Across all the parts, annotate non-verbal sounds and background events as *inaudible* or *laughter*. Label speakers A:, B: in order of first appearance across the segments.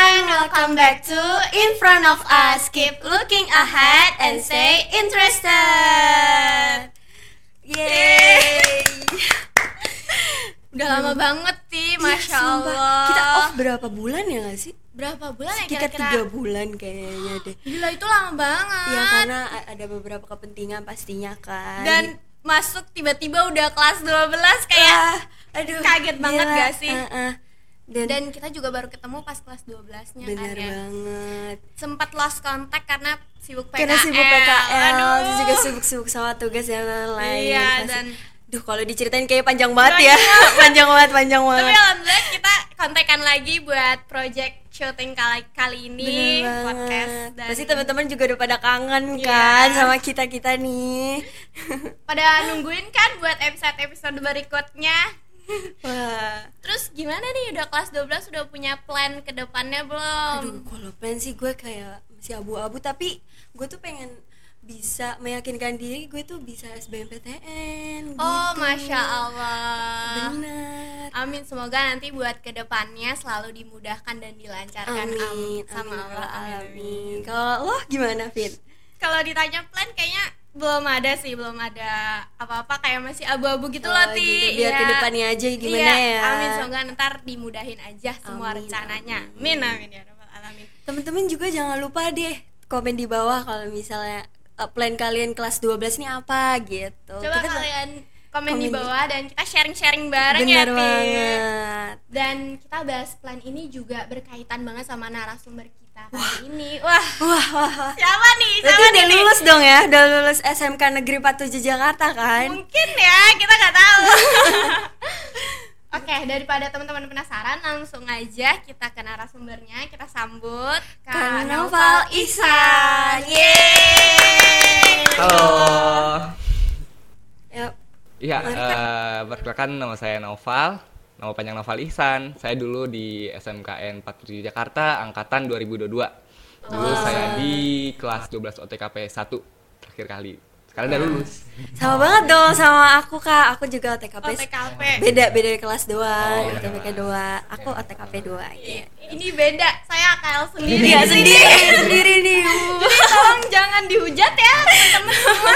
A: Welcome back to In Front of Us. Keep looking ahead and stay interested. Yeay. Udah lama banget sih, masya Allah.
B: Iya, Kita off berapa bulan ya gak sih?
A: berapa bulan ya
B: Kita tiga
A: kira-kira?
B: bulan kayaknya deh
A: Gila itu lama banget.
B: Ya karena a- ada beberapa kepentingan pastinya kan
A: Kan? Dan masuk tiba-tiba udah kelas 12 kayak
B: Wah, aduh,
A: kaget banget
B: gila.
A: gak sih?
B: Iya, Heeh. Dan,
A: Dan kita juga baru ketemu pas kelas 12-nya kan
B: bener
A: ya.
B: banget
A: Sempat lost contact karena sibuk PKL.
B: Karena sibuk PKL
A: Aduh.
B: Terus juga sibuk-sibuk sama tugas dan lain-lain
A: Iya,
B: pasti.
A: dan-
B: Duh kalau diceritain kayaknya panjang banget ya *laughs* Panjang banget, panjang
A: Tapi
B: banget
A: alhamdulillah kita kontekan lagi buat project syuting kali kali ini
B: Bener
A: podcast
B: banget.
A: dan
B: Pasti teman-teman juga udah pada kangen
A: Iya.
B: kan sama kita-kita nih
A: pada nungguin kan buat episode episode berikutnya.
B: Wah
A: Terus gimana nih udah kelas 12 udah punya plan ke depannya belum?
B: Aduh, kalau pengen sih gue kayak masih abu-abu tapi gue tuh pengen bisa meyakinkan diri gue tuh bisa SBMPTN.
A: oh,
B: gitu.
A: masya Allah.
B: Benar.
A: Amin semoga nanti buat kedepannya selalu dimudahkan dan dilancarkan
B: Amin,
A: Iya kan? Am-
B: amin,
A: sama Allah amin.
B: Amin. Kalau lo gimana, Fit?
A: Kalau ditanya plan kayaknya belum ada sih belum ada apa-apa kayak masih abu-abu gitu loh
B: Oh,
A: ti.
B: gitu. Biar
A: Iya.
B: ke depannya aja
A: Iya,
B: gimana ya.
A: Amin semoga ntar dimudahin aja semua
B: Amin,
A: rencananya. Amin amin ya rabbal alamin.
B: Temen-temen juga jangan lupa deh komen di bawah kalau misalnya eh, plan kalian kelas 12 nih apa gitu.
A: Coba
B: Kita-
A: kalian komen
B: komen
A: di
B: di-
A: bawah dan kita sharing-sharing bareng
B: Bener
A: ya Ti.
B: banget.
A: Dan kita bahas plan ini juga berkaitan banget sama narasumber kita kali ini. Wah,
B: Wah, wah, wah.
A: siapa nih?
B: Berarti
A: Siapa
B: udah
A: nih? Ti?
B: lulus dong ya, udah lulus SMK Negeri Patuju Jakarta kan?
A: Mungkin ya, kita nggak
B: *laughs*
A: tahu. Oke, daripada teman-teman penasaran, langsung aja kita ke narasumbernya, kita sambut
B: Kak
A: Kak
B: Noval
A: Noval
B: Ihsan.
A: Ihsan. Yeay!
C: Halo.
B: Yap.
C: Iya,
B: Mari,
C: eh, perkenalkan nama saya Noval. Nama panjang Noval Ihsan. Saya dulu di SMKN 47 Jakarta angkatan 2022. Dulu saya di kelas 12 OTKP 1 terakhir kali. Sekarang udah lulus.
B: Sama banget dong sama aku Kak. Aku juga OTKP.
A: OTKP.
B: Beda beda di kelas doang,
C: Oh, iya.
B: OTKP 2. Aku OTKP 2. Iya.
A: Ini beda, saya KL sendiri.
B: Iya sendiri, sendiri nih.
A: Jadi *laughs* tolong jangan dihujat ya, teman-teman semua.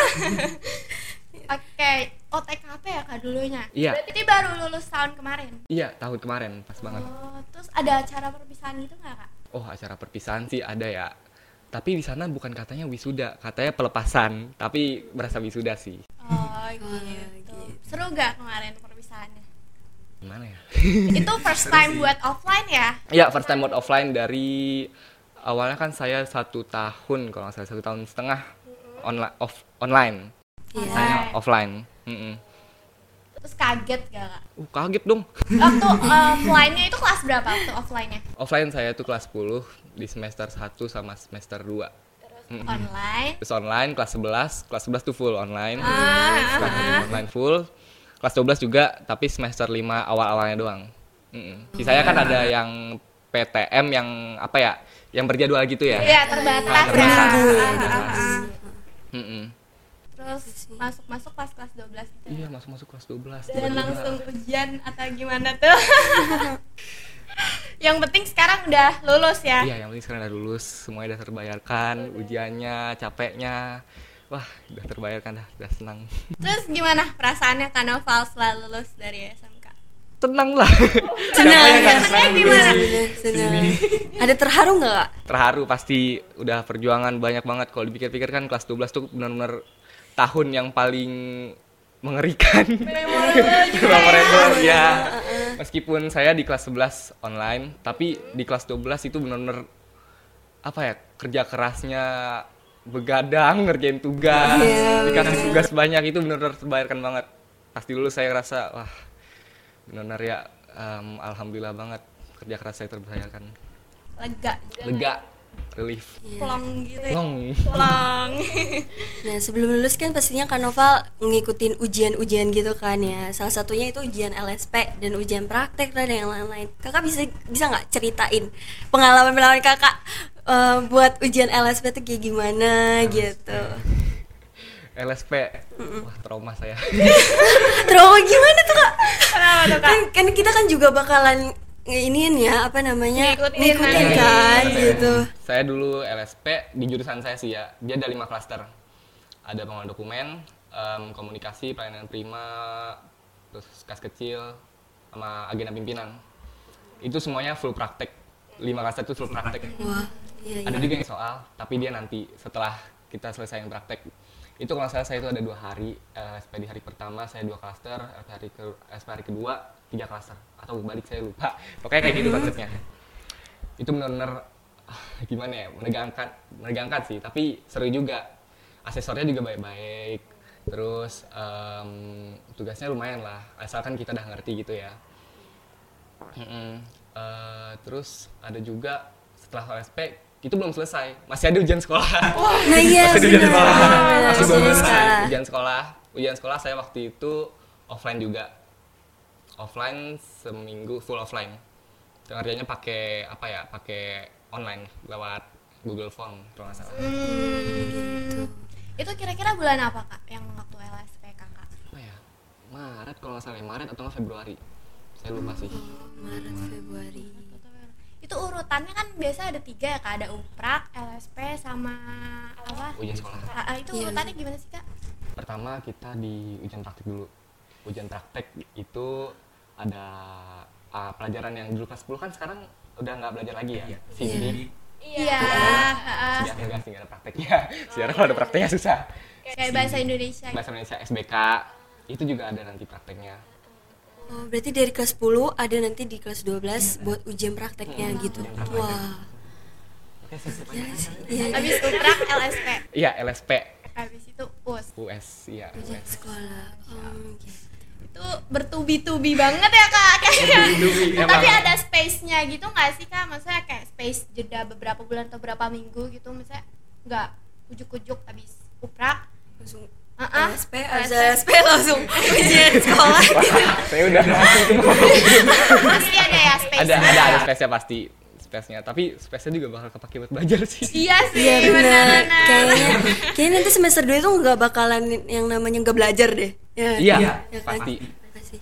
B: *laughs*
A: Oke, OTKP ya Kak dulunya.
C: Iya.
A: Berarti ini baru lulus tahun kemarin.
C: Iya, tahun kemarin pas banget.
A: Oh, terus ada acara perpisahan gitu nggak Kak?
C: Oh, acara perpisahan sih ada ya. Tapi di sana bukan katanya wisuda, katanya pelepasan. Tapi berasa wisuda sih.
A: Oh
C: Ah,
A: gitu. Seru gak kemarin
C: *laughs*
A: perpisahannya?
C: Gimana ya?
A: Itu first time buat offline ya?
C: Ya, first time buat offline dari awalnya kan saya satu tahun kalau nggak salah satu tahun setengah online off online
B: Iya.
C: Saya offline. Mm-mm.
A: Terus kaget gak kak?
C: Uh, kaget dong.
A: Waktu eh, offline-nya itu kelas berapa waktu offline-nya?
C: Offline saya tuh kelas 10 di semester 1 sama semester 2.
A: Online?
C: Terus online kelas 11, kelas 11 tuh full online.
A: Ah,
C: Kelas 11 online full. Kelas 12 juga tapi semester 5 awal-awalnya doang. Mm-mm. Sisanya kan
A: Ah.
C: ada yang PTM yang apa ya? Yang berjadwal gitu ya.
A: Iya terbatas ya.
C: Ah, terbatas.
A: Ah, ah, ah, ah.
C: Mm-mm.
A: Terus masuk-masuk pas kelas 12 gitu. ya?
C: Iya, masuk-masuk kelas 12.
A: Dan
C: tiba-tiba.
A: langsung ujian atau gimana
C: *laughs*
A: tuh? Yang penting sekarang udah lulus ya.
C: Iya, yang penting sekarang udah lulus, semuanya udah terbayarkan, ujiannya, capeknya. Wah, udah terbayarkan dah, udah senang. *laughs*
A: Terus gimana perasaannya Kak Noval setelah lulus dari SMK?
C: Tenang lah.
B: Senang. Eh,
A: Senang. Senang gimana?
B: Senang. Ada terharu nggak Kak?
C: Terharu pasti udah perjuangan banyak banget kalau dipikir-pikir kan kelas 12 tuh benar-benar tahun yang paling mengerikan. *laughs* Memorable ya. Meskipun saya di kelas 11 online, tapi di kelas 12 itu benar-benar apa ya, kerja kerasnya begadang ngerjain tugas. Dikasih tugas banyak itu benar-benar terbayarkan banget. Pasti dulu saya ngerasa wah benar-benar ya em, alhamdulillah banget kerja keras saya terbayarkan.
A: Lega.
C: Lega, relief.
A: Plong gitu
B: Eh.
A: ya.
C: Long.
A: Plong.
B: Nah, sebelum lulus kan pastinya Kak Noval ngikutin ujian-ujian gitu kan ya. Salah satunya itu ujian LSP dan ujian praktek dan yang lain-lain. Kakak bisa bisa nggak ceritain pengalaman-pengalaman Kakak eh, buat ujian LSP tuh kayak gimana gitu.
C: LSP. Wah, trauma saya.
B: Trauma gimana tuh Kak?
A: *laughs* Kenapa tuh Kak?
B: Kan, kan kita kan juga bakalan ini ya apa namanya
A: Ngikutin.
B: ngikutin kan
C: Iya.
B: gitu
C: Saya dulu LSP di jurusan saya sih ya. Dia ada lima klaster. Ada pengelola dokumen, em, komunikasi, pelayanan prima, terus kas kecil, sama agenda pimpinan. Itu semuanya full praktek. Lima klaster itu full praktek.
B: wah iya
C: Ada
B: iya
C: juga yang soal, tapi dia nanti setelah kita selesai yang praktek. Itu kalau nggak salah saya itu ada dua hari, LSP di hari pertama saya dua klaster, LSP hari, ke, LSP hari kedua tiga klaster. Atau balik saya lupa, pokoknya kayak gitu konsepnya. Itu benar-benar ah, gimana ya, menegangkan, menegangkan sih, tapi seru juga. Aksesornya juga baik-baik, terus em, tugasnya lumayan lah, asalkan kita udah ngerti gitu ya. Mm-mm. Eh, terus ada juga setelah OSP itu belum selesai, masih ada ujian sekolah. *laughs*
B: nah iya
C: masih di
B: benar
C: sekolah.
B: benar, iya.
C: Masih
B: benar
C: belum selesai.
B: sekali.
C: Ujian sekolah, ujian sekolah saya waktu itu offline juga. Offline seminggu full offline. Ngerjainnya pakai apa ya? Pakai online lewat Google Form kalau nggak salah.
A: Itu kira-kira bulan apa kak yang waktu LSP kakak?
C: Apa ya? Maret kalau nggak salah, ya, Maret atau nggak Februari. Saya lupa sih.
B: Maret Februari
A: Itu urutannya kan biasa ada tiga ya kak, ada UPRAK, LSP sama apa?
C: Ujian Oh, sekolah.
A: Ah, ah, itu
B: Iya.
A: urutannya gimana sih kak?
C: Pertama kita di ujian praktik dulu. Ujian praktek itu ada ah, pelajaran yang dulu kelas 10 kan sekarang udah nggak belajar lagi ya. Sini
A: Iya. ah,
C: sejarah enggak sih nggak ada prakteknya. Sejarah kalau ada prakteknya susah.
A: Kayak bahasa Indonesia. gitu.
C: Bahasa Indonesia SBK itu juga ada nanti prakteknya.
B: oh berarti dari kelas 10 ada nanti di kelas 12
C: Iya.
B: buat ujian prakteknya gitu wah iya
A: Abis UPRAK, LSP.
C: Iya, LSP
A: Abis itu US.
C: US iya.
B: ujian
C: US.
B: sekolah oh, gitu.
A: Itu bertubi-tubi banget ya kak kayak. Tapi
C: Emang.
A: ada space-nya gitu nggak sih kak? Maksudnya kayak space jeda beberapa bulan atau berapa minggu gitu Maksudnya nggak ujuk-ujuk abis UPRAK
B: langsung
A: Ah, ah.
B: LSP, abis LSP langsung *laughs* ujian sekolah
C: Saya udah itu.
A: Pasti ada ya
C: Ada
A: space-nya
C: ada ada space-nya pasti space-nya, tapi space-nya juga bakal kepake buat belajar sih.
A: Iya sih,
B: Iya benar.
A: benar
B: Kayaknya kayaknya nanti semester 2 itu nggak bakalan yang namanya nggak belajar deh. Ya,
C: Iya,
B: ya kan?
C: pasti.
B: Pasti.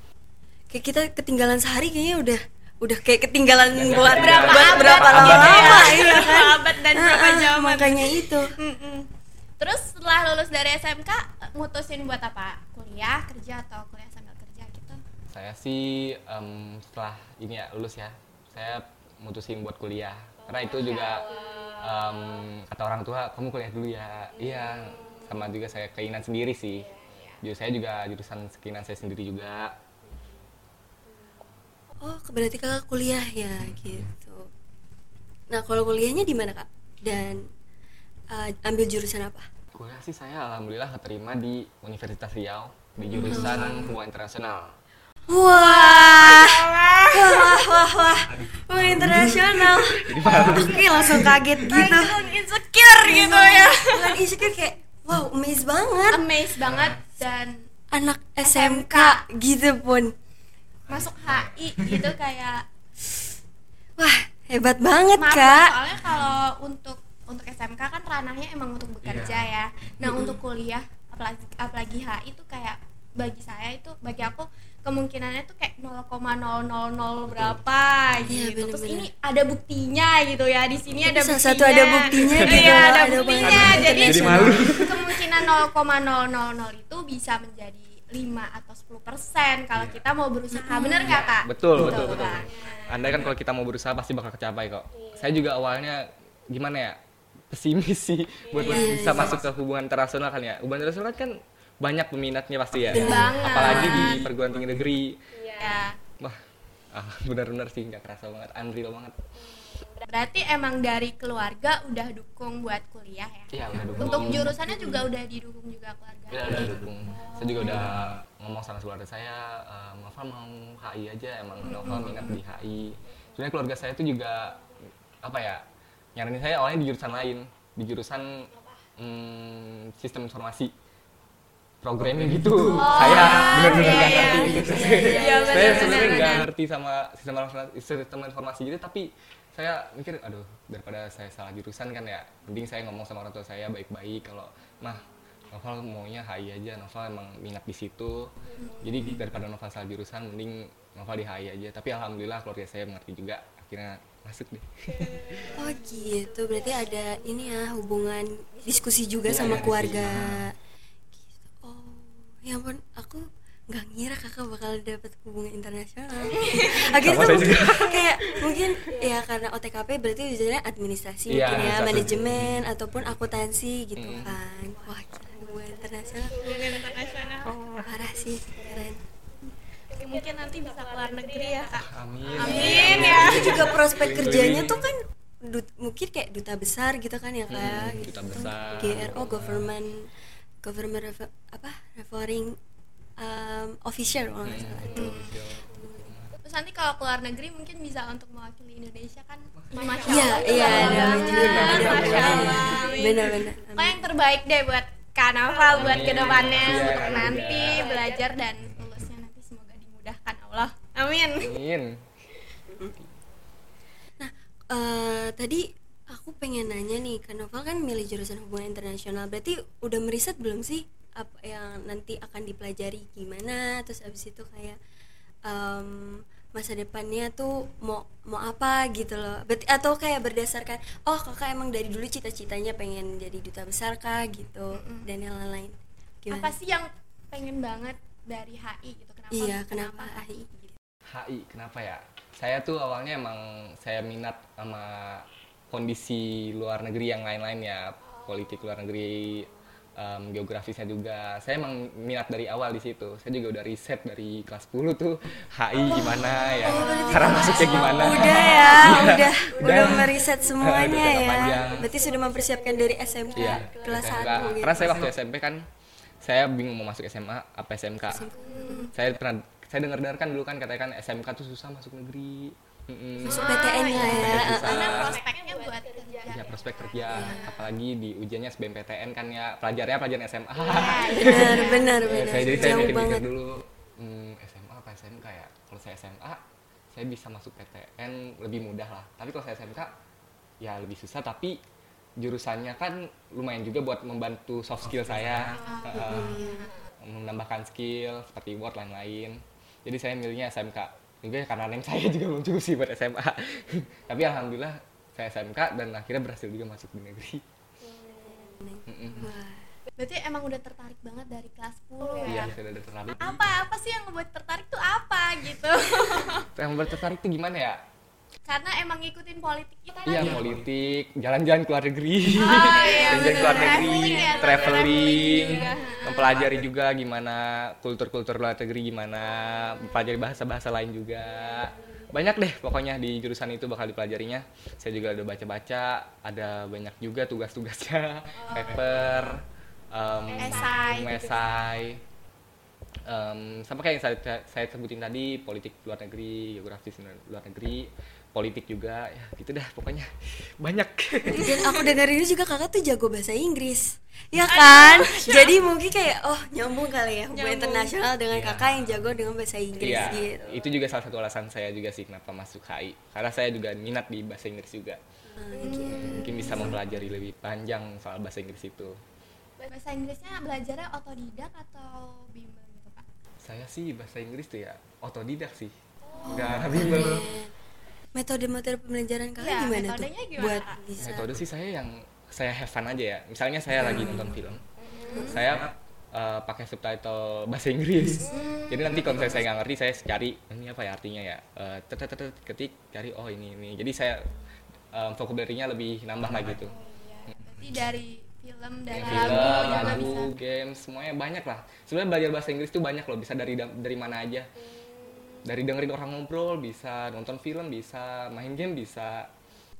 B: Kayak kita ketinggalan sehari kayaknya udah udah kayak ketinggalan
C: Iya,
B: buat
C: Berapa
B: buat
A: abad,
B: berapa
A: abad
B: lama
A: ya.
B: iya kan?
A: Berapa abad dan berapa
B: Ah, ah,
A: zaman.
B: Makanya itu.
A: Mm-mm. Terus setelah lulus dari SMK eh, mutusin buat apa? Kuliah, kerja atau kuliah sambil kerja gitu?
C: Saya sih em, setelah ini ya lulus ya, saya mutusin buat kuliah. Karena itu juga em, kata orang tua, kamu kuliah dulu ya. Iya, sama juga saya keinginan sendiri sih. Jadi saya juga jurusan keinginan saya sendiri juga.
B: Oh, berarti kakak kuliah ya gitu. Nah, kalau kuliahnya di mana kak? Dan eh, ambil jurusan apa?
C: Kuliah sih saya alhamdulillah keterima di Universitas Riau di jurusan hubungan internasional.
B: Wah, wah, wah, wah, wah internasional. Oke, langsung kaget gitu.
A: insecure gitu ya.
B: Bukan insecure kayak wow, amazed banget.
A: Amazed banget dan
B: Anak SMK gitu pun.
A: masuk HI gitu kayak
B: Wah, hebat banget,
A: Maaf,
B: Kak.
A: soalnya kalau untuk untuk SMK kan ranahnya emang untuk bekerja
C: Iya.
A: ya. Nah, untuk kuliah apalagi apalagi HI itu kayak bagi saya itu bagi aku kemungkinannya tuh kayak 0,000 berapa
C: Iya,
A: gitu. Terus
B: bener-bener.
A: ini ada buktinya gitu ya. Di sini
B: Tapi
A: ada
B: salah
A: buktinya.
B: satu ada buktinya gitu
A: Iya,
B: loh,
A: ada
B: ada
A: buktinya.
B: banyak.
A: Jadi,
B: Jadi
C: malu.
A: *laughs* kemungkinan 0,000 itu bisa menjadi 5 atau 10% kalau kita mau berusaha. Bener nggak, Kak?
C: Iya. Betul, betul, betul.
A: Nah,
C: Andai kan kalau kita mau berusaha pasti bakal kecapai kok. Saya juga awalnya gimana ya? Pesimis sih buat bisa masuk ke hubungan internasional kan ya. Hubungan internasional kan banyak peminatnya pasti ya.
A: Banget.
C: Apalagi di perguruan tinggi negeri.
A: Ya.
C: Wah, ah, *laughs* benar-benar sih nggak kerasa banget, unreal banget.
A: Berarti emang dari keluarga udah dukung buat kuliah ya?
C: Iya, udah dukung.
A: Untuk jurusannya juga udah didukung juga keluarga.
C: Iya, udah dukung. Saya juga udah ngomong sama keluarga saya, eh, Novel mau HI aja, emang Novel minat di HI. Sebenarnya keluarga saya itu juga apa ya? Nyaranin saya awalnya di jurusan lain, di jurusan mm, sistem informasi. Programnya gitu.
A: Oh,
C: saya
A: iya,
C: kan? benar-benar nggak ngerti. saya sebenarnya nggak ngerti sama sistem informasi, sistem informasi gitu, tapi saya mikir, aduh, daripada saya salah jurusan kan ya, mending saya ngomong sama orang tua saya baik-baik kalau, mah, Noval maunya HI aja Noval emang minat di situ jadi daripada Noval salah jurusan mending Noval di HI aja tapi alhamdulillah keluarga saya mengerti juga akhirnya masuk deh
B: Oh gitu, berarti ada ini ya hubungan diskusi juga
C: Iya,
B: sama
C: iya,
B: keluarga.
C: diskusi.
B: Gitu. Oh, ya ampun, aku nggak ngira kakak bakal dapet hubungan internasional.
C: *laughs*
B: Akhirnya
C: Sama
B: tuh
C: saya juga.
B: kayak mungkin ya karena OTKP berarti jalannya administrasi mungkin
C: Iya,
B: ya,
C: administrasi. Hmm.
B: manajemen ataupun akuntansi gitu kan. Wah, gila, hubungan internasional.
D: hubungan internasional
B: Oh, parah sih, keren.
D: mungkin nanti bisa keluar negeri ya kak
C: amin Iya,
D: amin ya
B: Itu Iya, juga prospek
C: Keliling-keliling.
B: kerjanya tuh kan dut- mungkin kayak duta besar gitu kan ya kak
C: Hmm,
B: gitu.
C: duta besar.
B: GRO government government refer- apa referring um, officer kalau nggak salah
C: Hmm.
B: itu
A: Terus nanti kalau keluar negeri mungkin bisa untuk mewakili Indonesia kan. Masya
B: iya
A: Allah.
B: iya ada
D: Masya Allah.
B: benar-benar
A: Pokoknya yang terbaik deh buat Kanava buat
C: Amin.
A: kedepannya
C: Iya,
A: untuk
C: amin.
A: nanti belajar dan lulusnya nanti semoga dimudahkan Allah. Amin.
C: amin
B: Nah, eh, tadi aku pengen nanya nih, kan Novel kan milih jurusan hubungan internasional. Berarti udah meriset belum sih apa yang nanti akan dipelajari gimana? Terus abis itu kayak em, masa depannya tuh mau mau apa gitu loh. Berarti atau kayak berdasarkan oh kakak emang dari dulu cita-citanya pengen jadi duta besar kah gitu dan yang lain-lain. Gimana?
A: Apa sih yang pengen banget dari HI gitu? Kenapa? gitu?
B: Iya, kenapa AI?
C: HI kenapa ya saya tuh awalnya emang saya minat sama kondisi luar negeri yang lain-lain ya politik luar negeri em, geografisnya juga saya emang minat dari awal di situ saya juga udah riset dari kelas 10 tuh HI gimana
B: Oh,
C: ya cara masuknya gimana
B: Udah ya, udah, udah
C: Iya, udah.
B: meriset semuanya
C: Udah
B: ya.
C: panjang.
B: Berarti sudah mempersiapkan dari SMK
C: Iya,
B: kelas
C: SMK.
B: 1 gitu.
C: Karena saya waktu SMP kan saya bingung mau masuk SMA apa SMK.
B: Hmm.
C: Saya pernah saya dengar dengar kan dulu kan katanya kan SMK tuh susah masuk negeri. Mm-mm.
B: Masuk PTN lah ya.
A: Karena
C: Susah.
A: prospeknya buat kerja.
C: Ya prospek kerja, apalagi di ujiannya SBMPTN kan ya pelajarnya pelajaran SMA.
B: Benar, benar,
C: Eh,
B: benar.
C: saya jadi saya
B: Jauh
C: mikir
B: banget.
C: mikir dulu hmm, SMA apa SMK ya. Kalau saya SMA saya bisa masuk PTN lebih mudah lah. Tapi kalau saya SMK ya lebih susah tapi jurusannya kan lumayan juga buat membantu soft skill Ah, gitu, iya. saya. Heeh. menambahkan skill seperti word lain-lain. Jadi saya milihnya SMK. Juga ya karena neng saya juga belum cukup sih buat SMA. *laughs* Tapi alhamdulillah saya SMK dan akhirnya berhasil juga masuk di negeri. Mm-mm.
B: Wah.
A: Berarti emang udah tertarik banget dari kelas 10 ya.
C: Iya, sudah ada tertarik.
A: Apa apa sih yang ngebuat tertarik tuh apa gitu? *laughs*
C: Yang bertertarik tuh gimana ya?
A: Karena emang ngikutin politik itu
C: Iya
A: tadi.
C: politik, jalan-jalan ke luar negeri,
A: Oh, iya,
C: jalan-jalan ke luar
A: bener.
C: negeri,
A: Traveling ya, Iya.
C: traveling,
A: traveling juga.
C: mempelajari juga gimana kultur-kultur luar negeri gimana, mempelajari bahasa-bahasa lain juga. Banyak deh pokoknya di jurusan itu bakal dipelajarinya. Saya juga udah baca-baca, ada banyak juga tugas-tugasnya, paper, em,
A: Oh. Esai.
C: esai. Em, sama kayak yang saya, saya sebutin tadi politik luar negeri geografis luar negeri politik juga ya gitu dah pokoknya banyak *laughs*
B: Dan aku dengar ini juga kakak tuh jago bahasa Inggris. Ya
A: *laughs*
B: kan? Jadi mungkin kayak oh nyambung kali ya hubungan internasional dengan kakak yang jago dengan bahasa Inggris
C: Iya,
B: gitu.
C: itu juga salah satu alasan saya juga sih kenapa masuk HI karena saya juga minat di bahasa Inggris juga
B: Nah, gitu.
C: mungkin bisa mempelajari lebih panjang soal bahasa Inggris itu
A: Iya. Bahasa Inggrisnya belajarnya otodidak atau bimbel gitu, Pak?
C: saya sih bahasa Inggris tuh ya otodidak sih
B: Oh, iya.
C: nggak bimbel
B: Metode-metode pembelajaran kakak
A: Iya,
B: gimana tuh?
A: metodenya gimana,
B: Buat
A: Kak?
B: bisa
C: metode sih saya yang saya have fun aja ya misalnya saya
B: Hmm.
C: lagi nonton film saya eh, pakai subtitle bahasa Inggris
B: Hmm.
C: jadi nanti kalau misalnya saya nggak ngerti saya cari ini apa ya artinya ya Eh, tet tet tet, ketik cari oh ini ini jadi saya eh, vocabulary-nya lebih nambah
B: Hmm.
C: gitu. lagi tuh
A: Berarti dari film dari
C: Iya. film
A: lagu juga
C: lagu
A: bisa.
C: game semuanya banyak lah sebenarnya belajar bahasa Inggris tuh banyak loh bisa dari da- dari mana aja dari dengerin orang ngobrol bisa nonton film bisa main game bisa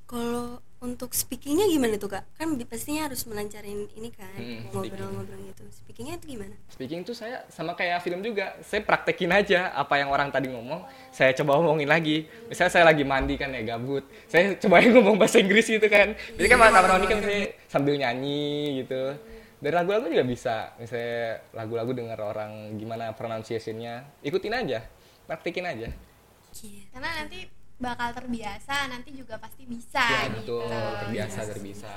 B: Kalau untuk speakingnya gimana tuh kak? Kan bi- pastinya harus melancarin ini kan
C: Hmm,
B: ngobrol-ngobrol gitu. Speakingnya itu gimana?
C: Speaking itu saya sama kayak film juga, saya praktekin aja apa yang orang tadi ngomong, saya coba ngomongin lagi. Misalnya saya lagi mandi kan ya gabut, saya cobain ngomong bahasa Inggris gitu kan. Jadi kan malam mandi kan saya sambil nyanyi gitu. Dari lagu-lagu juga bisa, misalnya lagu-lagu dengar orang gimana pronunciation-nya, ikutin aja, praktekin aja.
B: Gitu.
A: Karena nanti bakal terbiasa, nanti juga pasti bisa
C: Ya
A: gitu.
C: betul, terbiasa, terbiasa.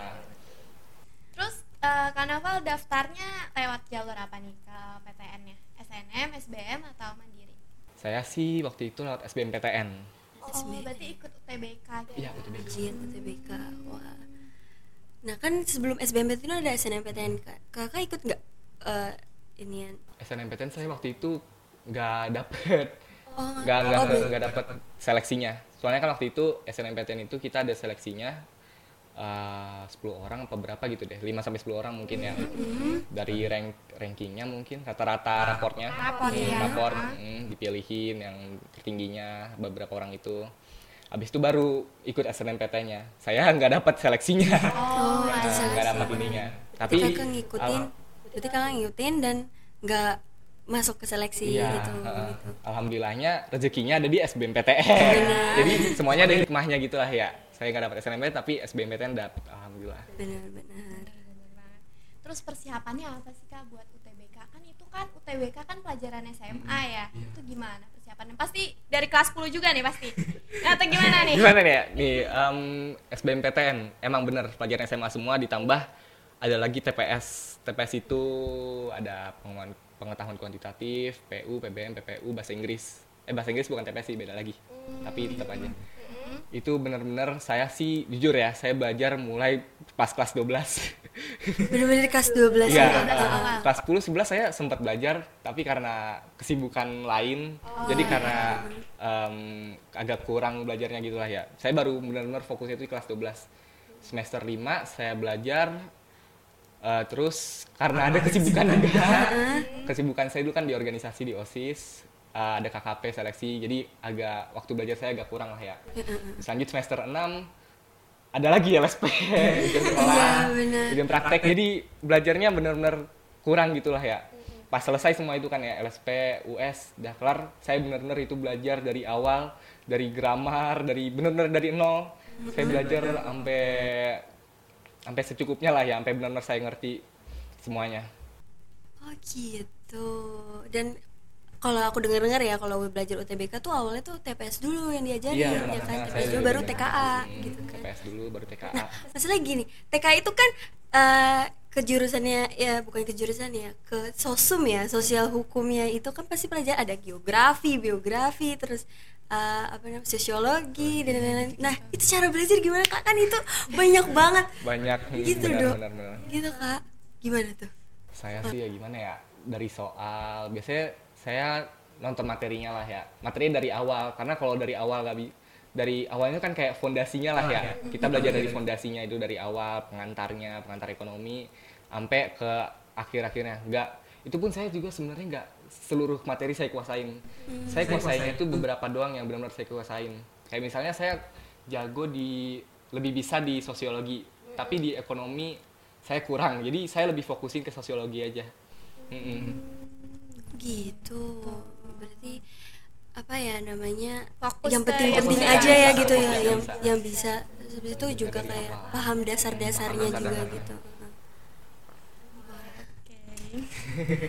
A: Terus eh, karnaval daftarnya lewat jalur apa nih ke PTN-nya? SNM, SBM atau Mandiri?
C: Saya sih waktu itu lewat SBMPTN.
A: Oh, berarti ikut UTBK gitu.
C: Iya, betul betul.
B: ujian UTBK wah nah kan sebelum SBMPTN itu ada SNMPTN kak kakak ikut nggak eh inian
C: SNMPTN saya waktu itu nggak dapet
B: oh
C: nggak nggak
B: oh, ber-
C: nggak dapet seleksinya soalnya kan waktu itu SNMPTN itu kita ada seleksinya eh, 10 orang apa berapa gitu deh 5 sampai 10 orang mungkin ya
B: Mm-hmm.
C: dari rank rankingnya mungkin rata-rata rapornya
A: Rapor,
C: Hmm,
A: iya.
B: ya.
C: rapor
A: Ah.
C: mm, dipilihin yang tertingginya beberapa orang itu habis itu baru ikut SNMPTN-nya saya nggak dapat seleksinya
B: oh
A: iya,
B: ada
C: Nah, nggak dapat
B: seleksi
C: ininya
B: tapi
C: tapi
B: kakak ngikutin
C: al-
B: berarti kakak ngikutin dan nggak masuk ke seleksi
C: Iya,
B: gitu,
C: heeh.
B: gitu.
C: alhamdulillahnya rezekinya ada di SBMPTN. Jadi semuanya ada hikmahnya gitu lah ya. Saya nggak dapat SNMPTN tapi SBMPTN dapat alhamdulillah.
B: Eh. benar-benar
A: Bener banget. Terus persiapannya apa sih kak buat UTBK? Kan itu kan UTBK kan pelajaran SMA
C: Iya.
A: ya. Itu gimana persiapannya? Pasti dari kelas 10 juga nih
C: *laughs*
A: pasti. Nah, atau gimana nih?
C: Gimana nih ya? Nih em, SBMPTN emang bener pelajaran SMA semua ditambah ada lagi TPS. TPS itu ada pengetahuan, pengetahuan kuantitatif, PU, PBM, PPU, bahasa Inggris. Eh bahasa Inggris bukan TPS sih, beda lagi. Tapi tetap aja. Itu bener-bener saya sih jujur ya, saya belajar mulai pas kelas 12.
B: benar-benar kelas 12
C: Iya,
B: ya
C: uh, kelas 10 11 saya sempat belajar tapi karena kesibukan lain jadi karena um, agak kurang belajarnya gitulah ya. Saya baru benar-benar fokusnya itu di kelas 12. Semester 5 saya belajar uh, terus karena ada kesibukan juga. kesibukan saya dulu kan di organisasi di OSIS, uh, ada KKP seleksi. Jadi agak waktu belajar saya agak kurang lah ya. Selanjut semester 6 ada lagi ya LSP ujian sekolah
B: Iya, benar.
C: ujian praktek jadi belajarnya benar-benar kurang gitulah ya pas selesai semua itu kan ya LSP US udah kelar saya benar-benar itu belajar dari awal dari grammar dari benar-benar dari nol saya belajar sampai sampai secukupnya lah ya sampai benar-benar saya ngerti semuanya
B: Oh gitu. Dan kalau aku dengar-dengar ya kalau belajar UTBK tuh awalnya tuh TPS dulu yang diajarin ya kan. TPS
C: benar-benar Iya, saya
B: dulu baru
C: belajar.
B: TKA
C: Hmm,
B: gitu kan.
C: TPS dulu baru TKA
B: *laughs* Nah, masalah gini, TKA itu kan eh kejurusannya ya bukan kejurusan ya, ke sosum ya, sosial hukumnya itu kan pasti pelajaran ada geografi, biografi, terus eh, apa namanya sosiologi dan lain-lain. Nah, itu cara belajar gimana Kak? Kan itu banyak banget
C: banyak hmm,
B: Gitu,
C: benar,
B: Dok.
C: benar, benar.
B: gitu, Kak. Gimana tuh?
C: saya sih ya gimana ya dari soal biasanya saya nonton materinya lah ya materinya dari awal karena kalau dari awal gak bi- dari awalnya kan kayak fondasinya lah ya kita belajar dari fondasinya itu dari awal pengantarnya pengantar ekonomi sampai ke akhir-akhirnya nggak itu pun saya juga sebenarnya nggak seluruh materi saya kuasain saya kuasainnya itu beberapa doang yang benar-benar saya kuasain kayak misalnya saya jago di lebih bisa di sosiologi tapi di ekonomi saya kurang jadi saya lebih fokusin ke sosiologi aja Mm-mm.
B: gitu berarti apa ya namanya
A: Fokus
B: yang
A: ke yang
B: penting-penting
A: bisa.
B: aja ya gitu ya
C: Fokus yang
B: yang
C: bisa.
B: yang bisa Terus habis itu juga
C: dari
B: kayak
C: awal.
B: paham dasar-dasarnya
C: Paham
B: juga
C: dasar-dasarnya.
B: gitu
A: Oke.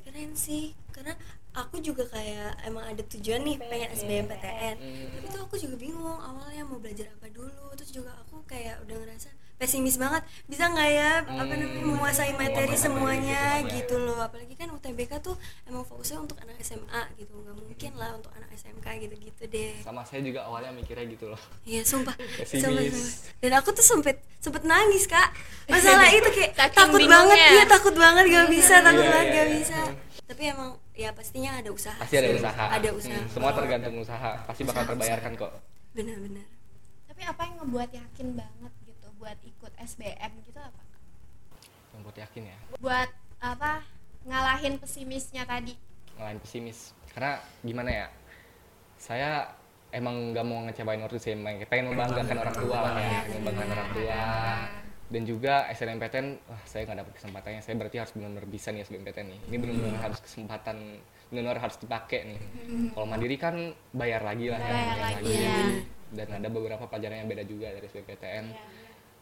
B: keren sih karena aku juga kayak emang ada tujuan nih pengen SBMPTN tapi tuh aku juga bingung awalnya mau belajar apa dulu terus juga aku kayak udah ngerasa pesimis banget bisa nggak ya apa namanya menguasai materi
C: Menguasai
B: semuanya
C: materi gitu,
B: gitu loh apalagi kan UTBK tuh emang fokusnya untuk anak SMA gitu nggak mungkin lah untuk anak SMK gitu-gitu deh
C: sama saya juga awalnya mikirnya gitu loh
B: Iya sumpah.
C: Pesimis.
B: sumpah, sumpah. Dan aku tuh sempet sempet nangis kak. Masalah
C: *laughs*
B: itu kayak
A: Saking
B: takut
A: bingungnya.
B: banget, iya takut banget gak bisa, takut
C: Iya,
B: banget
C: iya,
B: gak
C: iya.
B: bisa. Tapi emang ya pastinya ada usaha.
C: pasti ada
B: sih.
C: usaha
B: Ada usaha. Oh,
C: Hmm, semua tergantung usaha pasti bakal terbayarkan kok
B: Benar-benar.
A: Tapi apa yang ngebuat yakin banget gitu buat ikut SBM gitu apa? Kak?
C: yang buat yakin ya
A: Buat apa ngalahin pesimisnya tadi?
C: ngalahin pesimis karena gimana ya saya emang nggak mau ngecewain orang tua sih emang pengen membanggakan orang tua
A: Iya.
C: lah ya membanggakan orang tua dan juga SNMPTN wah saya nggak dapat kesempatannya saya berarti harus benar-benar bisa nih SBMPTN nih
A: Iya.
C: ini benar-benar harus kesempatan benar-benar harus dipakai nih kalau mandiri kan bayar lagi lah ya
A: Mm-hmm. Bayar lagi, ya.
C: dan ada beberapa pelajaran yang beda juga dari SBMPTN
A: Iya.
C: Em,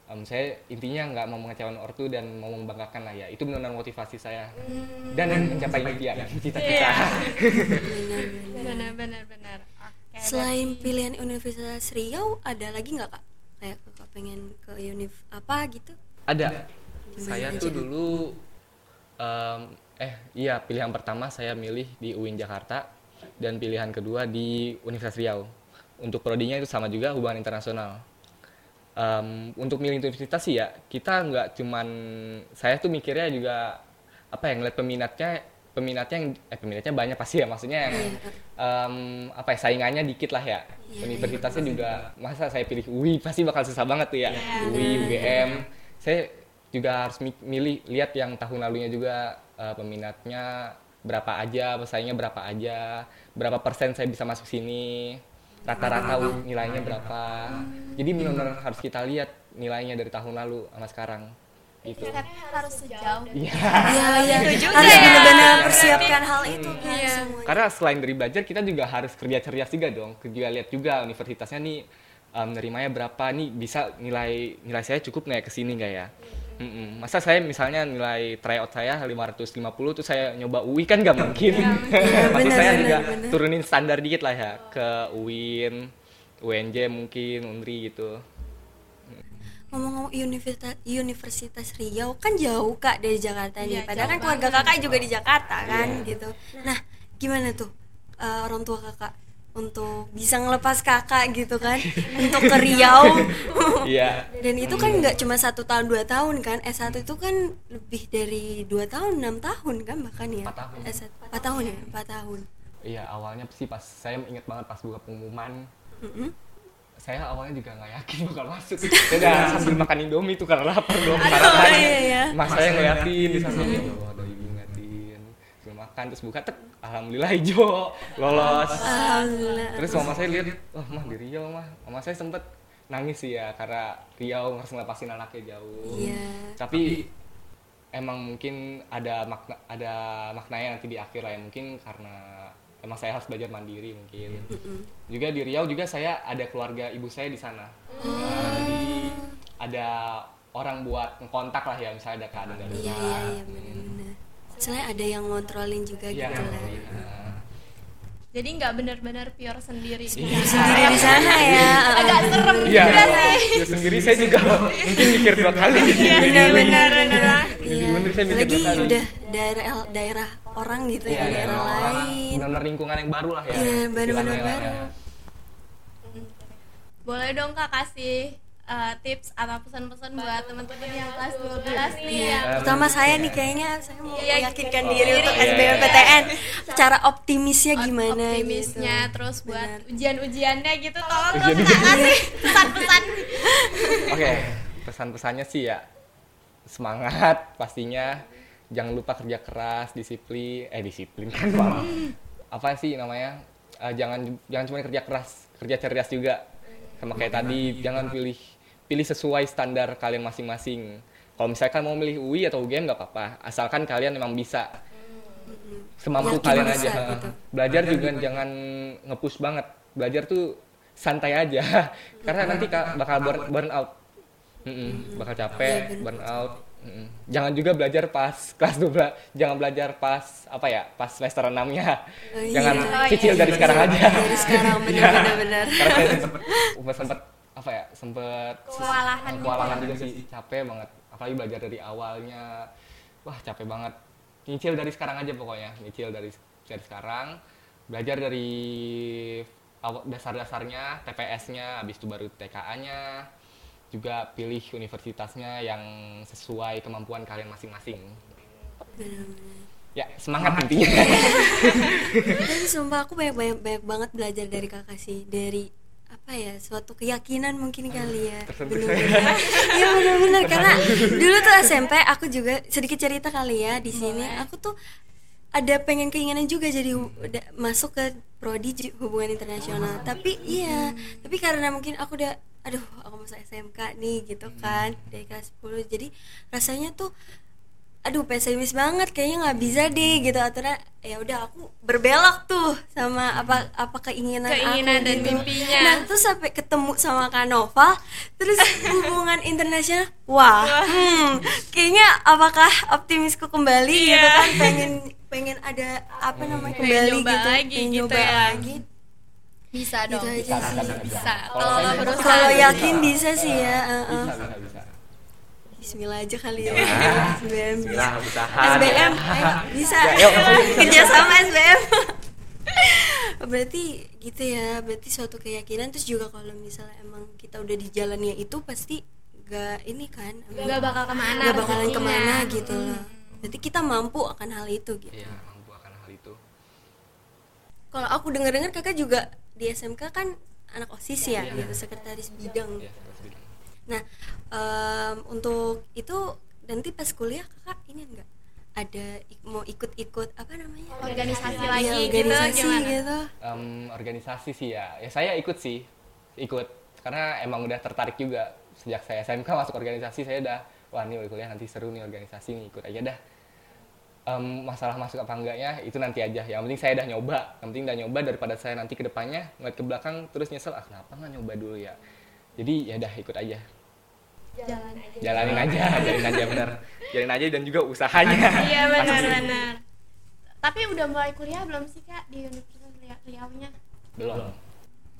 C: Um, saya intinya nggak mau mengecewain ortu dan mau membanggakan lah ya itu benar-benar motivasi saya
A: Mm.
C: dan mencapai impian cita-cita
A: Iya. Benar benar benar. Oke.
B: Selain pilihan Universitas Riau, ada lagi nggak kak? Kayak kakak pengen ke univ apa
C: *laughs*
B: gitu
C: Ada. Saya
B: aja?
C: tuh dulu em, eh iya pilihan pertama saya milih di UIN Jakarta dan pilihan kedua di Universitas Riau. Untuk prodinya itu sama juga hubungan internasional. Em, untuk milih universitas sih ya kita nggak cuman saya tuh mikirnya juga apa yang ngeliat peminatnya peminatnya yang eh peminatnya banyak pasti ya maksudnya yang em, apa ya saingannya dikit lah ya universitasnya juga masa saya pilih UI pasti bakal susah banget tuh ya UI UGM saya juga harus mi- milih lihat yang tahun lalunya juga eh, peminatnya berapa aja pesaingnya berapa aja berapa persen saya bisa masuk sini rata-rata u- nilainya berapa. Jadi benar-benar harus kita lihat nilainya dari tahun lalu sama sekarang. Gitu.
A: Stepnya harus sejauh
C: Iya.
B: iya iya
D: juga
B: harus
D: ya.
B: benar-benar persiapkan hal itu kan
A: Iya.
B: semua
C: Karena selain dari belajar kita juga harus kerja cerdas juga dong. Juga lihat juga universitasnya nih em, nerimanya berapa nih bisa nilai nilai saya cukup nggak ya ke sini nggak ya? Mm-mm. Masa saya misalnya nilai tryout saya 550 tuh saya nyoba UI kan nggak mungkin.
B: Iya,
C: *laughs* Pasti
B: benar,
C: saya
B: benar,
C: juga
B: benar.
C: turunin standar dikit lah ya ke UIN, UNJ mungkin, UNRI gitu.
B: ngomong-ngomong universitas universitas Riau kan jauh kak dari Jakarta
D: Iya,
B: nih padahal
D: jauh
B: kan keluarga kakak juga di Jakarta kan gitu nah gimana tuh eh, orang tua kakak untuk bisa ngelepas kakak gitu kan untuk ke Riau
C: Iya.
B: dan itu kan nggak cuma satu tahun dua tahun kan S1 itu kan lebih dari dua tahun enam tahun kan bahkan ya
C: Empat tahun.
B: S1 empat tahun ya empat tahun
C: Iya awalnya sih pas saya ingat banget pas buka pengumuman *laughs*
B: Mm-mm.
C: saya awalnya juga nggak yakin *laughs* bakal masuk saya udah
B: Iya.
C: sambil makan indomie tuh karena lapar dong karena
B: oh,
C: kan
B: iya, iya.
C: mas saya ngeliatin di sana ya Allah ada ibu ngeliatin sambil makan terus buka tek alhamdulillah hijau lolos
B: Alhamdulillah
C: terus mama saya lihat wah mah di Riau mah mama saya sempet nangis sih ya karena Riau harus ngelepasin anaknya jauh
B: Iya.
C: tapi emang mungkin ada makna ada maknanya nanti di akhir lah ya mungkin karena emang saya harus belajar mandiri mungkin juga di Riau juga saya ada keluarga ibu saya di sana
B: Oh.
C: Nah, jadi ada orang buat ngekontak lah ya misalnya ada keadaan darurat
B: iya iya iya benar-benar soalnya ada yang ngontrolin juga
C: Iya,
B: gitu lah
C: nah.
D: Jadi nggak benar-benar pure sendiri.
A: Iya.
B: sendiri di sana ya
D: Agak serem
C: Iya,
D: juga sih.
C: ya sendiri saya
B: *laughs*
C: juga mungkin mikir dua kali.
B: Iya, benar-benar
C: Jadi bener saya
B: lagi
C: mikir dua kali.
B: Iya. udah daerah daerah orang gitu ya
C: Iya,
B: daerah
C: orang-
B: lain
C: benar-benar lingkungan yang baru lah ya.
B: Iya, benar-benar
C: istilahnya lah ya.
A: Boleh dong kak kasih eh, tips atau pesan-pesan buat teman-teman yang kelas 12 nih
B: Iya,
A: yang
B: terutama saya nih kayaknya saya mau
A: Iya,
B: meyakinkan
A: gitu.
B: diri untuk
C: Iya, iya, iya.
B: SBMPTN cara optimisnya gimana gitu.
A: optimisnya terus buat
B: Benar.
A: ujian-ujiannya gitu tolong dong
C: Ujian-
A: kak kasih pesan-pesan
C: Oke, pesan-pesannya sih ya semangat pastinya. Jangan lupa kerja keras, disiplin, eh disiplin kan malah. Apa sih namanya? Eh, jangan jangan cuma kerja keras, kerja cerdas juga. Sama kayak tadi, jangan pilih pilih sesuai standar kalian masing-masing. Kalau misalkan mau milih UI atau UGM nggak apa-apa, asalkan kalian memang bisa. Semampu
B: Yakin
C: kalian
B: bisa
C: aja.
B: gitu.
C: Belajar juga jangan ngepush banget. Belajar tuh santai aja. *laughs* Karena kan nanti ka- bakal burn, burn out. Mm-mm, bakal capek, burn out. Mm-mm. Jangan juga belajar pas *laughs* kelas 12, jangan belajar pas apa ya, pas semester 6-nya.
B: Oh, iya.
C: jangan
B: Oh,
A: iya.
C: cicil dari sekarang aja.
B: *laughs*
C: Iya.
B: dari sekarang benar-benar
C: Karena saya Eh, sempet, sempet apa ya, sempet
A: kewalahan gitu ya.
C: kewalahan juga sih, capek banget. Apalagi belajar dari awalnya, wah capek banget. Nyicil dari sekarang aja pokoknya, nyicil dari dari sekarang. Belajar dari aw- dasar-dasarnya, TPS-nya, habis itu baru TKA-nya. Juga pilih universitasnya yang sesuai kemampuan kalian masing-masing. Ya, semangat
A: *laughs*
C: intinya.
B: tapi sumpah aku banyak banyak banyak banget belajar dari kakak sih dari apa ya suatu keyakinan mungkin kali ya benar-benar iya benar-benar karena dulu tuh SMP aku juga sedikit cerita kali ya di sini aku tuh ada pengen keinginan juga jadi hu- da- masuk ke prodi ju- hubungan internasional tapi iya tapi karena mungkin aku udah aduh aku masuk SMK nih gitu
A: Hmm.
B: kan dari kelas 10 jadi rasanya tuh aduh pesimis banget kayaknya nggak bisa
A: Hmm.
B: deh gitu aturan ya udah aku berbelok tuh sama apa apa keinginan
A: Keinginan
B: aku,
A: dan
B: gitu.
A: mimpinya.
B: nah terus sampai ketemu sama Kak Nova terus hubungan internasional wah hmm, kayaknya apakah optimisku kembali gitu kan pengen pengen ada apa namanya
D: Pengen
B: kembali
D: nyoba
B: gitu
D: lagi
B: pengen
D: gitu
B: nyoba
D: ya.
B: lagi
A: bisa dong
B: Gitu aja sih.
A: bisa Oh.
C: Kalau
A: kalau
C: saya
A: lo berusaha
B: Kalau yakin bisa sih ya. eh, eh.
C: bisa bisa bisa
B: Bismillah aja kali ya.
C: Ah,
B: SBM.
C: Bismillah, usaha
B: SBM eh, bisa.
C: Ya, yuk, langsung, yuk.
B: Kerja sama SBM. *laughs* berarti gitu ya, berarti suatu keyakinan terus juga kalau misalnya emang kita udah di jalannya itu pasti gak ini kan emang
A: nggak bakal kemana ya. iya. Hmm.
B: gak bakalan
A: rezekinya.
B: kemana gitu loh. Berarti kita mampu akan hal itu gitu.
C: Iya, mampu akan hal itu.
B: Kalau aku denger-dengar kakak juga di SMK kan anak OSIS ya, gitu, sekretaris bidang.
C: Iya, harus bilang.
B: Nah, em, untuk itu nanti pas kuliah kakak ini enggak ada ik- mau ikut-ikut apa namanya?
A: organisasi
B: Iya,
A: lagi
B: organisasi
A: gitu gimana
B: gitu.
C: Em, organisasi sih ya. Ya saya ikut sih. Ikut karena emang udah tertarik juga sejak saya SMK masuk organisasi saya udah wah nih kuliah nanti seru nih organisasi nih ikut aja dah. Em, masalah masuk apa enggaknya itu nanti aja. Yang penting saya udah nyoba. Yang penting udah nyoba daripada saya nanti ke depannya ngeliat ke belakang terus nyesel ah kenapa nggak nyoba dulu ya. Jadi ya udah ikut aja.
A: jalan
C: Jalanin aja, jalanin aja bener. Jalanin aja dan juga usahanya.
D: Iya benar-benar.
A: tapi udah mulai kuliah belum sih kak di Universitas Ria- Riau-nya
C: Belum.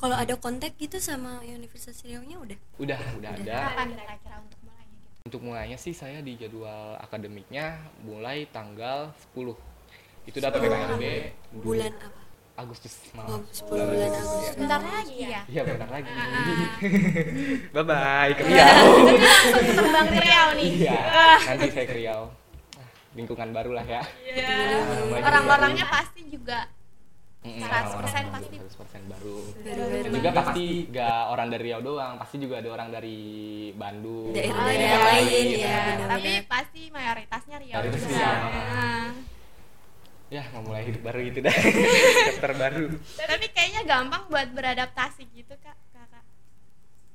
B: Kalau ada kontak gitu sama Universitas Riau-nya udah.
C: Udah, udah ada.
A: kapan kira-kira untuk mulainya gitu
C: Untuk mulainya sih saya di jadwal akademiknya mulai tanggal 10. Itu data PKLB
B: Bulan apa?
C: Agustus
B: Oh,
C: malam.
B: 10 bulan Agustus.
A: bentar lagi ya
C: Iya, bentar lagi. bye bye, ke Riau.
D: Terbang ke Riau nih.
C: Iya, nanti saya ke Riau. Ah, Lingkungan baru lah ya. Namanya juga-
A: orang-orangnya pasti juga
C: Mm-mm,
A: 100%
C: orang-orang
A: pasti.
C: 100% baru.
B: Baru-baru.
C: Juga pasti gak orang dari Riau doang, pasti juga ada orang dari Bandung.
B: Daerah-daerah
C: daerah
B: lain, ya.
A: Oh, iya. tapi pasti mayoritasnya Riau
C: iya, Mayoritas
A: juga.
B: iya.
C: Riau.
A: Nah,
C: Ya, memulai hidup baru gitu *laughs* dah. Chapter baru.
A: tapi kayaknya gampang buat beradaptasi gitu kak kakak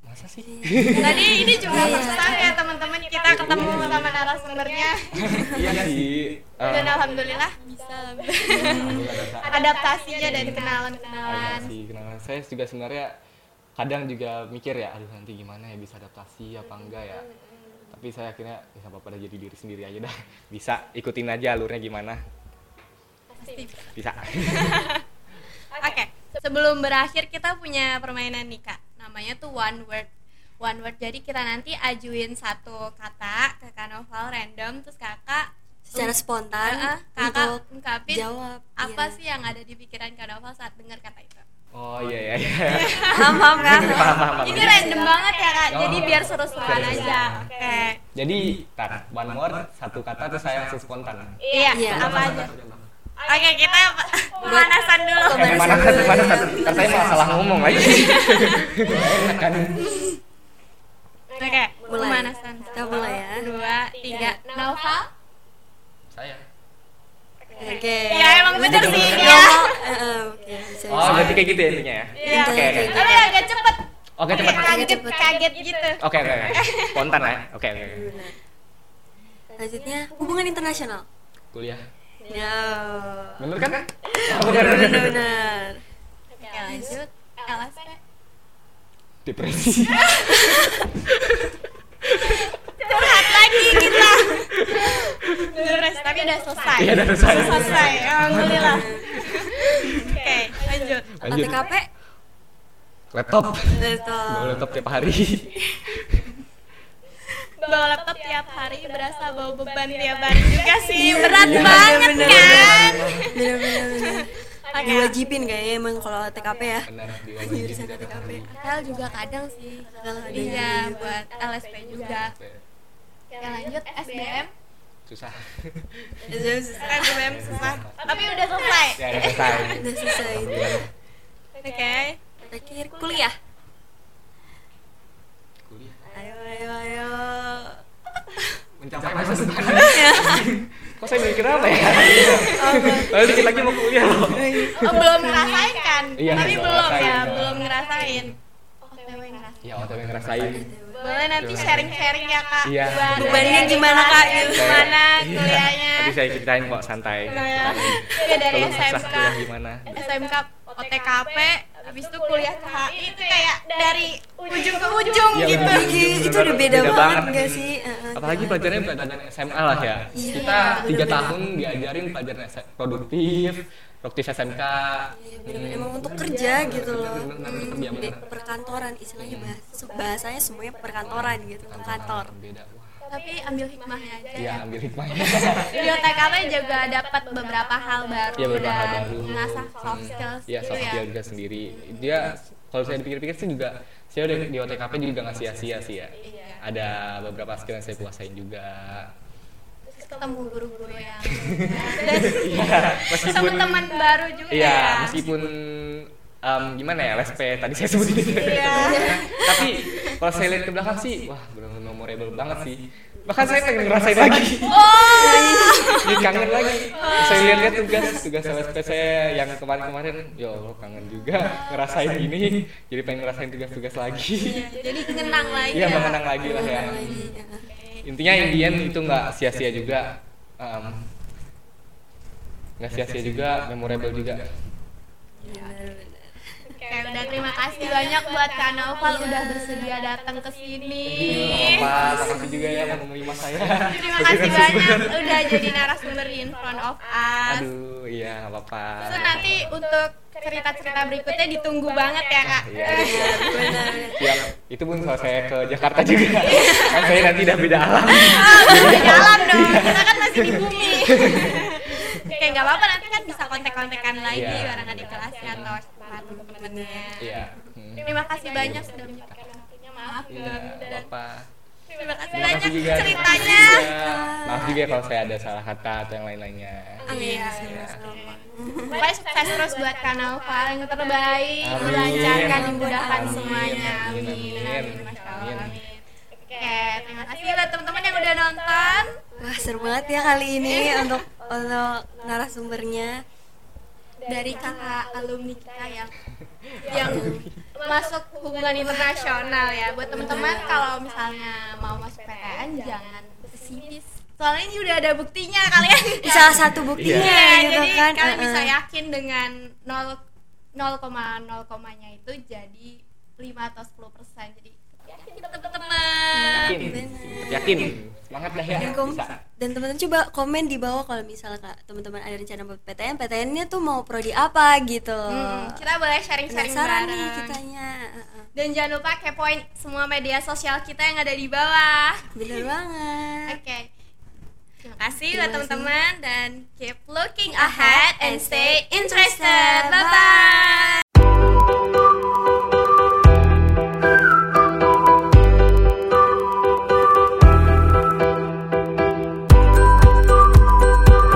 C: Masa sih? *laughs*
D: Tadi ini juga pesan ya teman-teman kita ketemu sama narasumbernya
C: Iya sih.
D: dan
C: Eh,
D: alhamdulillah bisa adaptasinya dari kenalan-kenalan.
C: adaptasi Iya kenalan saya juga sebenarnya kadang juga mikir ya aduh nanti gimana ya bisa adaptasi apa enggak ya tapi saya akhirnya ya nggak apa-apa dah, jadi diri sendiri aja dah bisa ikutin aja alurnya gimana
D: Pasti.
C: bisa *laughs*
D: Oke.
A: sebelum berakhir kita punya permainan nih kak namanya tuh one word one word jadi kita nanti ajuin satu kata ke kak Novel random terus kakak
B: Secara spontan
A: eh,
B: untuk
A: kakak ungkapin
B: jawab.
A: apa
B: iya.
A: sih yang ada di pikiran kak Novel saat dengar kata itu
C: oh iya iya iya
B: Paham, paham, paham.
C: paham paham paham.
A: ini random banget ya kak jadi
C: Oh.
A: biar seru-seruan
C: Seru-seruan.
A: aja oke
C: jadi tar one word satu kata terus saya langsung spontan
D: Iya,
B: Iya.
D: apa aja? Oke, kita pemanasan dulu.
C: Eh, pemanasan pemanasan ntar saya malah salah ngomong lagi *laughs* kan
A: Oke,
B: Mulai.
A: pemanasan.
B: Kita mulai ya.
A: Satu, Dua, tiga. Naufal?
C: saya
B: Oke.
D: Iya, emang bener sih, iya.
B: Ngomong, eh, eh, Oke, bisa,
C: oh
B: bisa.
C: berarti kayak gitu ya intinya ya
D: Iya.
B: Oke,
C: oke
B: oke.
D: Tapi agak cepet,
C: oke cepat
D: kaget,
B: cepet.
D: kaget gitu.
C: oke oke oke. spontan lah ya. oke oke oke.
B: Benar. Selanjutnya hubungan internasional.
C: kuliah
B: Ya.
C: bener kan
B: Benar-benar.
A: Oke, lanjut. LSP.
C: depresi
D: Beres, tapi udah selesai.
C: Iya dari saya.
D: Selesai, alhamdulillah. Oke, lanjut.
C: Lanjut.
B: OTKP?
C: Laptop. Bawa
B: Betul.
C: laptop tiap hari.
D: Bawa laptop tiap hari berasa bawa beban tiap hari juga sih. Berat
B: Iya,
D: banget
B: bener,
D: kan?
B: Benar benar benar.
D: Oke.
B: Diwajibin kayaknya emang kalau TKP ya.
C: Benar
B: Jurusan TKP.
A: L juga kadang sih. Iya,
B: Iya.
A: buat LSP juga. Oke, lanjut. SBM.
C: Susah.
D: SBM susah. Tapi udah selesai.
C: Ya udah selesai.
B: Udah selesai.
D: Oke.
B: Terakhir kuliah.
C: Kuliah.
B: Ayo ayo ayo.
C: Mencapai masa depan.
D: Iya.
C: Kok saya mikir apa ya? Lalu dikit lagi mau kuliah loh.
D: Oh, belum ngerasain kan?
C: Iya,
D: Tapi
C: belum
D: belum ya,
C: ngerasain.
D: belum ngerasain.
A: OTW ngerasa.
C: Ya, waktu yang ngerasain.
D: Boleh nanti sharing-sharing ya kak.
C: Iya.
D: Buat
B: Bebannya
D: dari
B: gimana, Kak?
D: kuliahnya
B: Gitu.
D: Gimana
C: Iya. ya,
D: kuliahnya?
C: Tadi saya ceritain kok santai.
D: Iya. Iya, dari
C: Kalau susah
D: SMK,
C: kuliah gimana?
D: SMK, OTKP, habis itu kuliah ke HI itu kayak dari ujung ke ujung
C: Iya,
D: gitu.
C: benar.
B: Gigi itu udah beda
C: Beda
B: banget
C: banget.
B: nggak sih? Heeh. Iya,
C: Apalagi pelajarannya pelajaran SMA lah ya. Kita tiga tahun diajarin pelajaran S- produktif, Roktif SMK
B: Iya, bener-bener. emang untuk kerja gitu loh
C: bener-bener untuk kerja,
B: Hmm, di
C: bener.
B: perkantoran istilahnya bahas, bahasanya semuanya perkantoran gitu kantor
C: beda wah
A: tapi ambil hikmahnya aja ya.
C: iya ambil hikmahnya
A: video TKP juga dapat beberapa hal baru
C: Iya, beberapa hal
A: dan
C: baru.
A: mengasah soft skills
C: Iya,
A: gitu
C: soft
A: ya
C: skill juga sendiri. Dia kalau saya dipikir-pikir sih juga saya udah di OTKP juga nggak sia-sia sih ya.
A: Iya.
C: Ada beberapa skill yang saya kuasain juga.
A: Terus ketemu guru-guru yang *laughs*
C: Iya,
A: sama
C: meskipun
A: teman baru juga
C: iya,
A: ya
C: meskipun em, gimana ya LSP tadi saya
A: *laughs*
C: sebutin.
A: Iya.
C: *laughs* Tapi kalau saya lihat ke belakang sih, wah benar-benar memorable banget sih. Bahkan saya pengen ngerasain lagi.
A: Oh,
C: Jadi kangen lagi. Saya lihat-lihat tugas tugas LSP saya yang kemarin-kemarin, ya Allah kangen juga ngerasain gini. Jadi pengen ngerasain tugas-tugas lagi.
A: jadi kenang lagi
C: Iya
A: ya.
C: mengenang lagi lah ya.
B: lagi ya.
C: Intinya Indian itu nggak sia-sia juga, em, nggak sia-sia juga, memorable juga.
B: Iya, Bener-bener.
A: Oke, udah terima kasih banyak buat Kak Naufal udah bersedia datang ke sini.
C: Iya, Apa makasih juga ya mau menerima saya.
A: Terima kasih banyak udah jadi narasumber di in front of us.
C: Aduh, iya nggak apa-apa.
A: Terus nanti untuk cerita-cerita berikutnya ditunggu banget ya Kak.
C: Iya. Siap. Iya, Itu pun kalau saya ke Jakarta juga. Kan saya nanti udah beda alam. Iya.
A: Di dalam dong, kita kan masih di bumi.
C: *laughs*
A: Oke, nggak apa-apa nanti kan bisa kontek-kontekan lagi
C: Iya.
A: barangkali di kelasnya atau tempat teman-temannya.
C: Iya. Hmm.
A: Terima kasih banyak sudah menyempatkan waktunya. Maaf.
C: Iya, nggak apa-apa.
A: Terima kasih
C: Terima
A: banyak
C: kasih juga.
A: ceritanya. Ah.
C: Maaf juga ya kalau saya ada salah kata atau yang lain-lainnya.
B: Amin.
A: Iya.
B: Sama-sama.
A: Pokoknya sukses terus buat kanal paling terbaik,
C: Amin.
A: dilancarkan, dimudahkan
C: Amin.
A: semuanya. Amin.
C: Amin.
A: Amin. Masya Allah.
C: Amin.
A: Amin. Oke, terima kasih buat teman-teman yang udah nonton.
B: Wah seru banget ya kali ini
A: *laughs*
B: untuk untuk narasumbernya.
A: Dari kakak alumni kita yang
B: *laughs*
A: yang masuk hubungan internasional ya. Buat teman-teman kalau misalnya mau masuk PTN jangan pesimis. Soalnya ini udah ada buktinya kalian.
B: *laughs* Salah satu buktinya
A: Iya,
B: gitu
A: jadi
B: kan.
A: kalian
B: eh,
A: bisa
B: eh.
A: yakin dengan 0 0,0 komanya itu jadi 5 atau 10 persen jadi yakin teman-teman
C: Yakin. Tetap Yakin. Semangat dah ya.
B: Dan, kom-
C: Bisa.
B: dan teman-teman coba komen di bawah kalau misalnya kak teman-teman ada rencana buat PTN, PTN-nya tuh mau prodi apa gitu.
A: Hmm, kita boleh sharing-sharing
B: Penasaran
A: bareng
B: nih kitanya. eh, eh.
A: dan jangan lupa kepoin semua media sosial kita yang ada di bawah
B: Bener banget.
A: oke terima kasih
B: Terima
A: buat
B: kasih.
A: teman-teman dan keep looking ahead and stay interested bye bye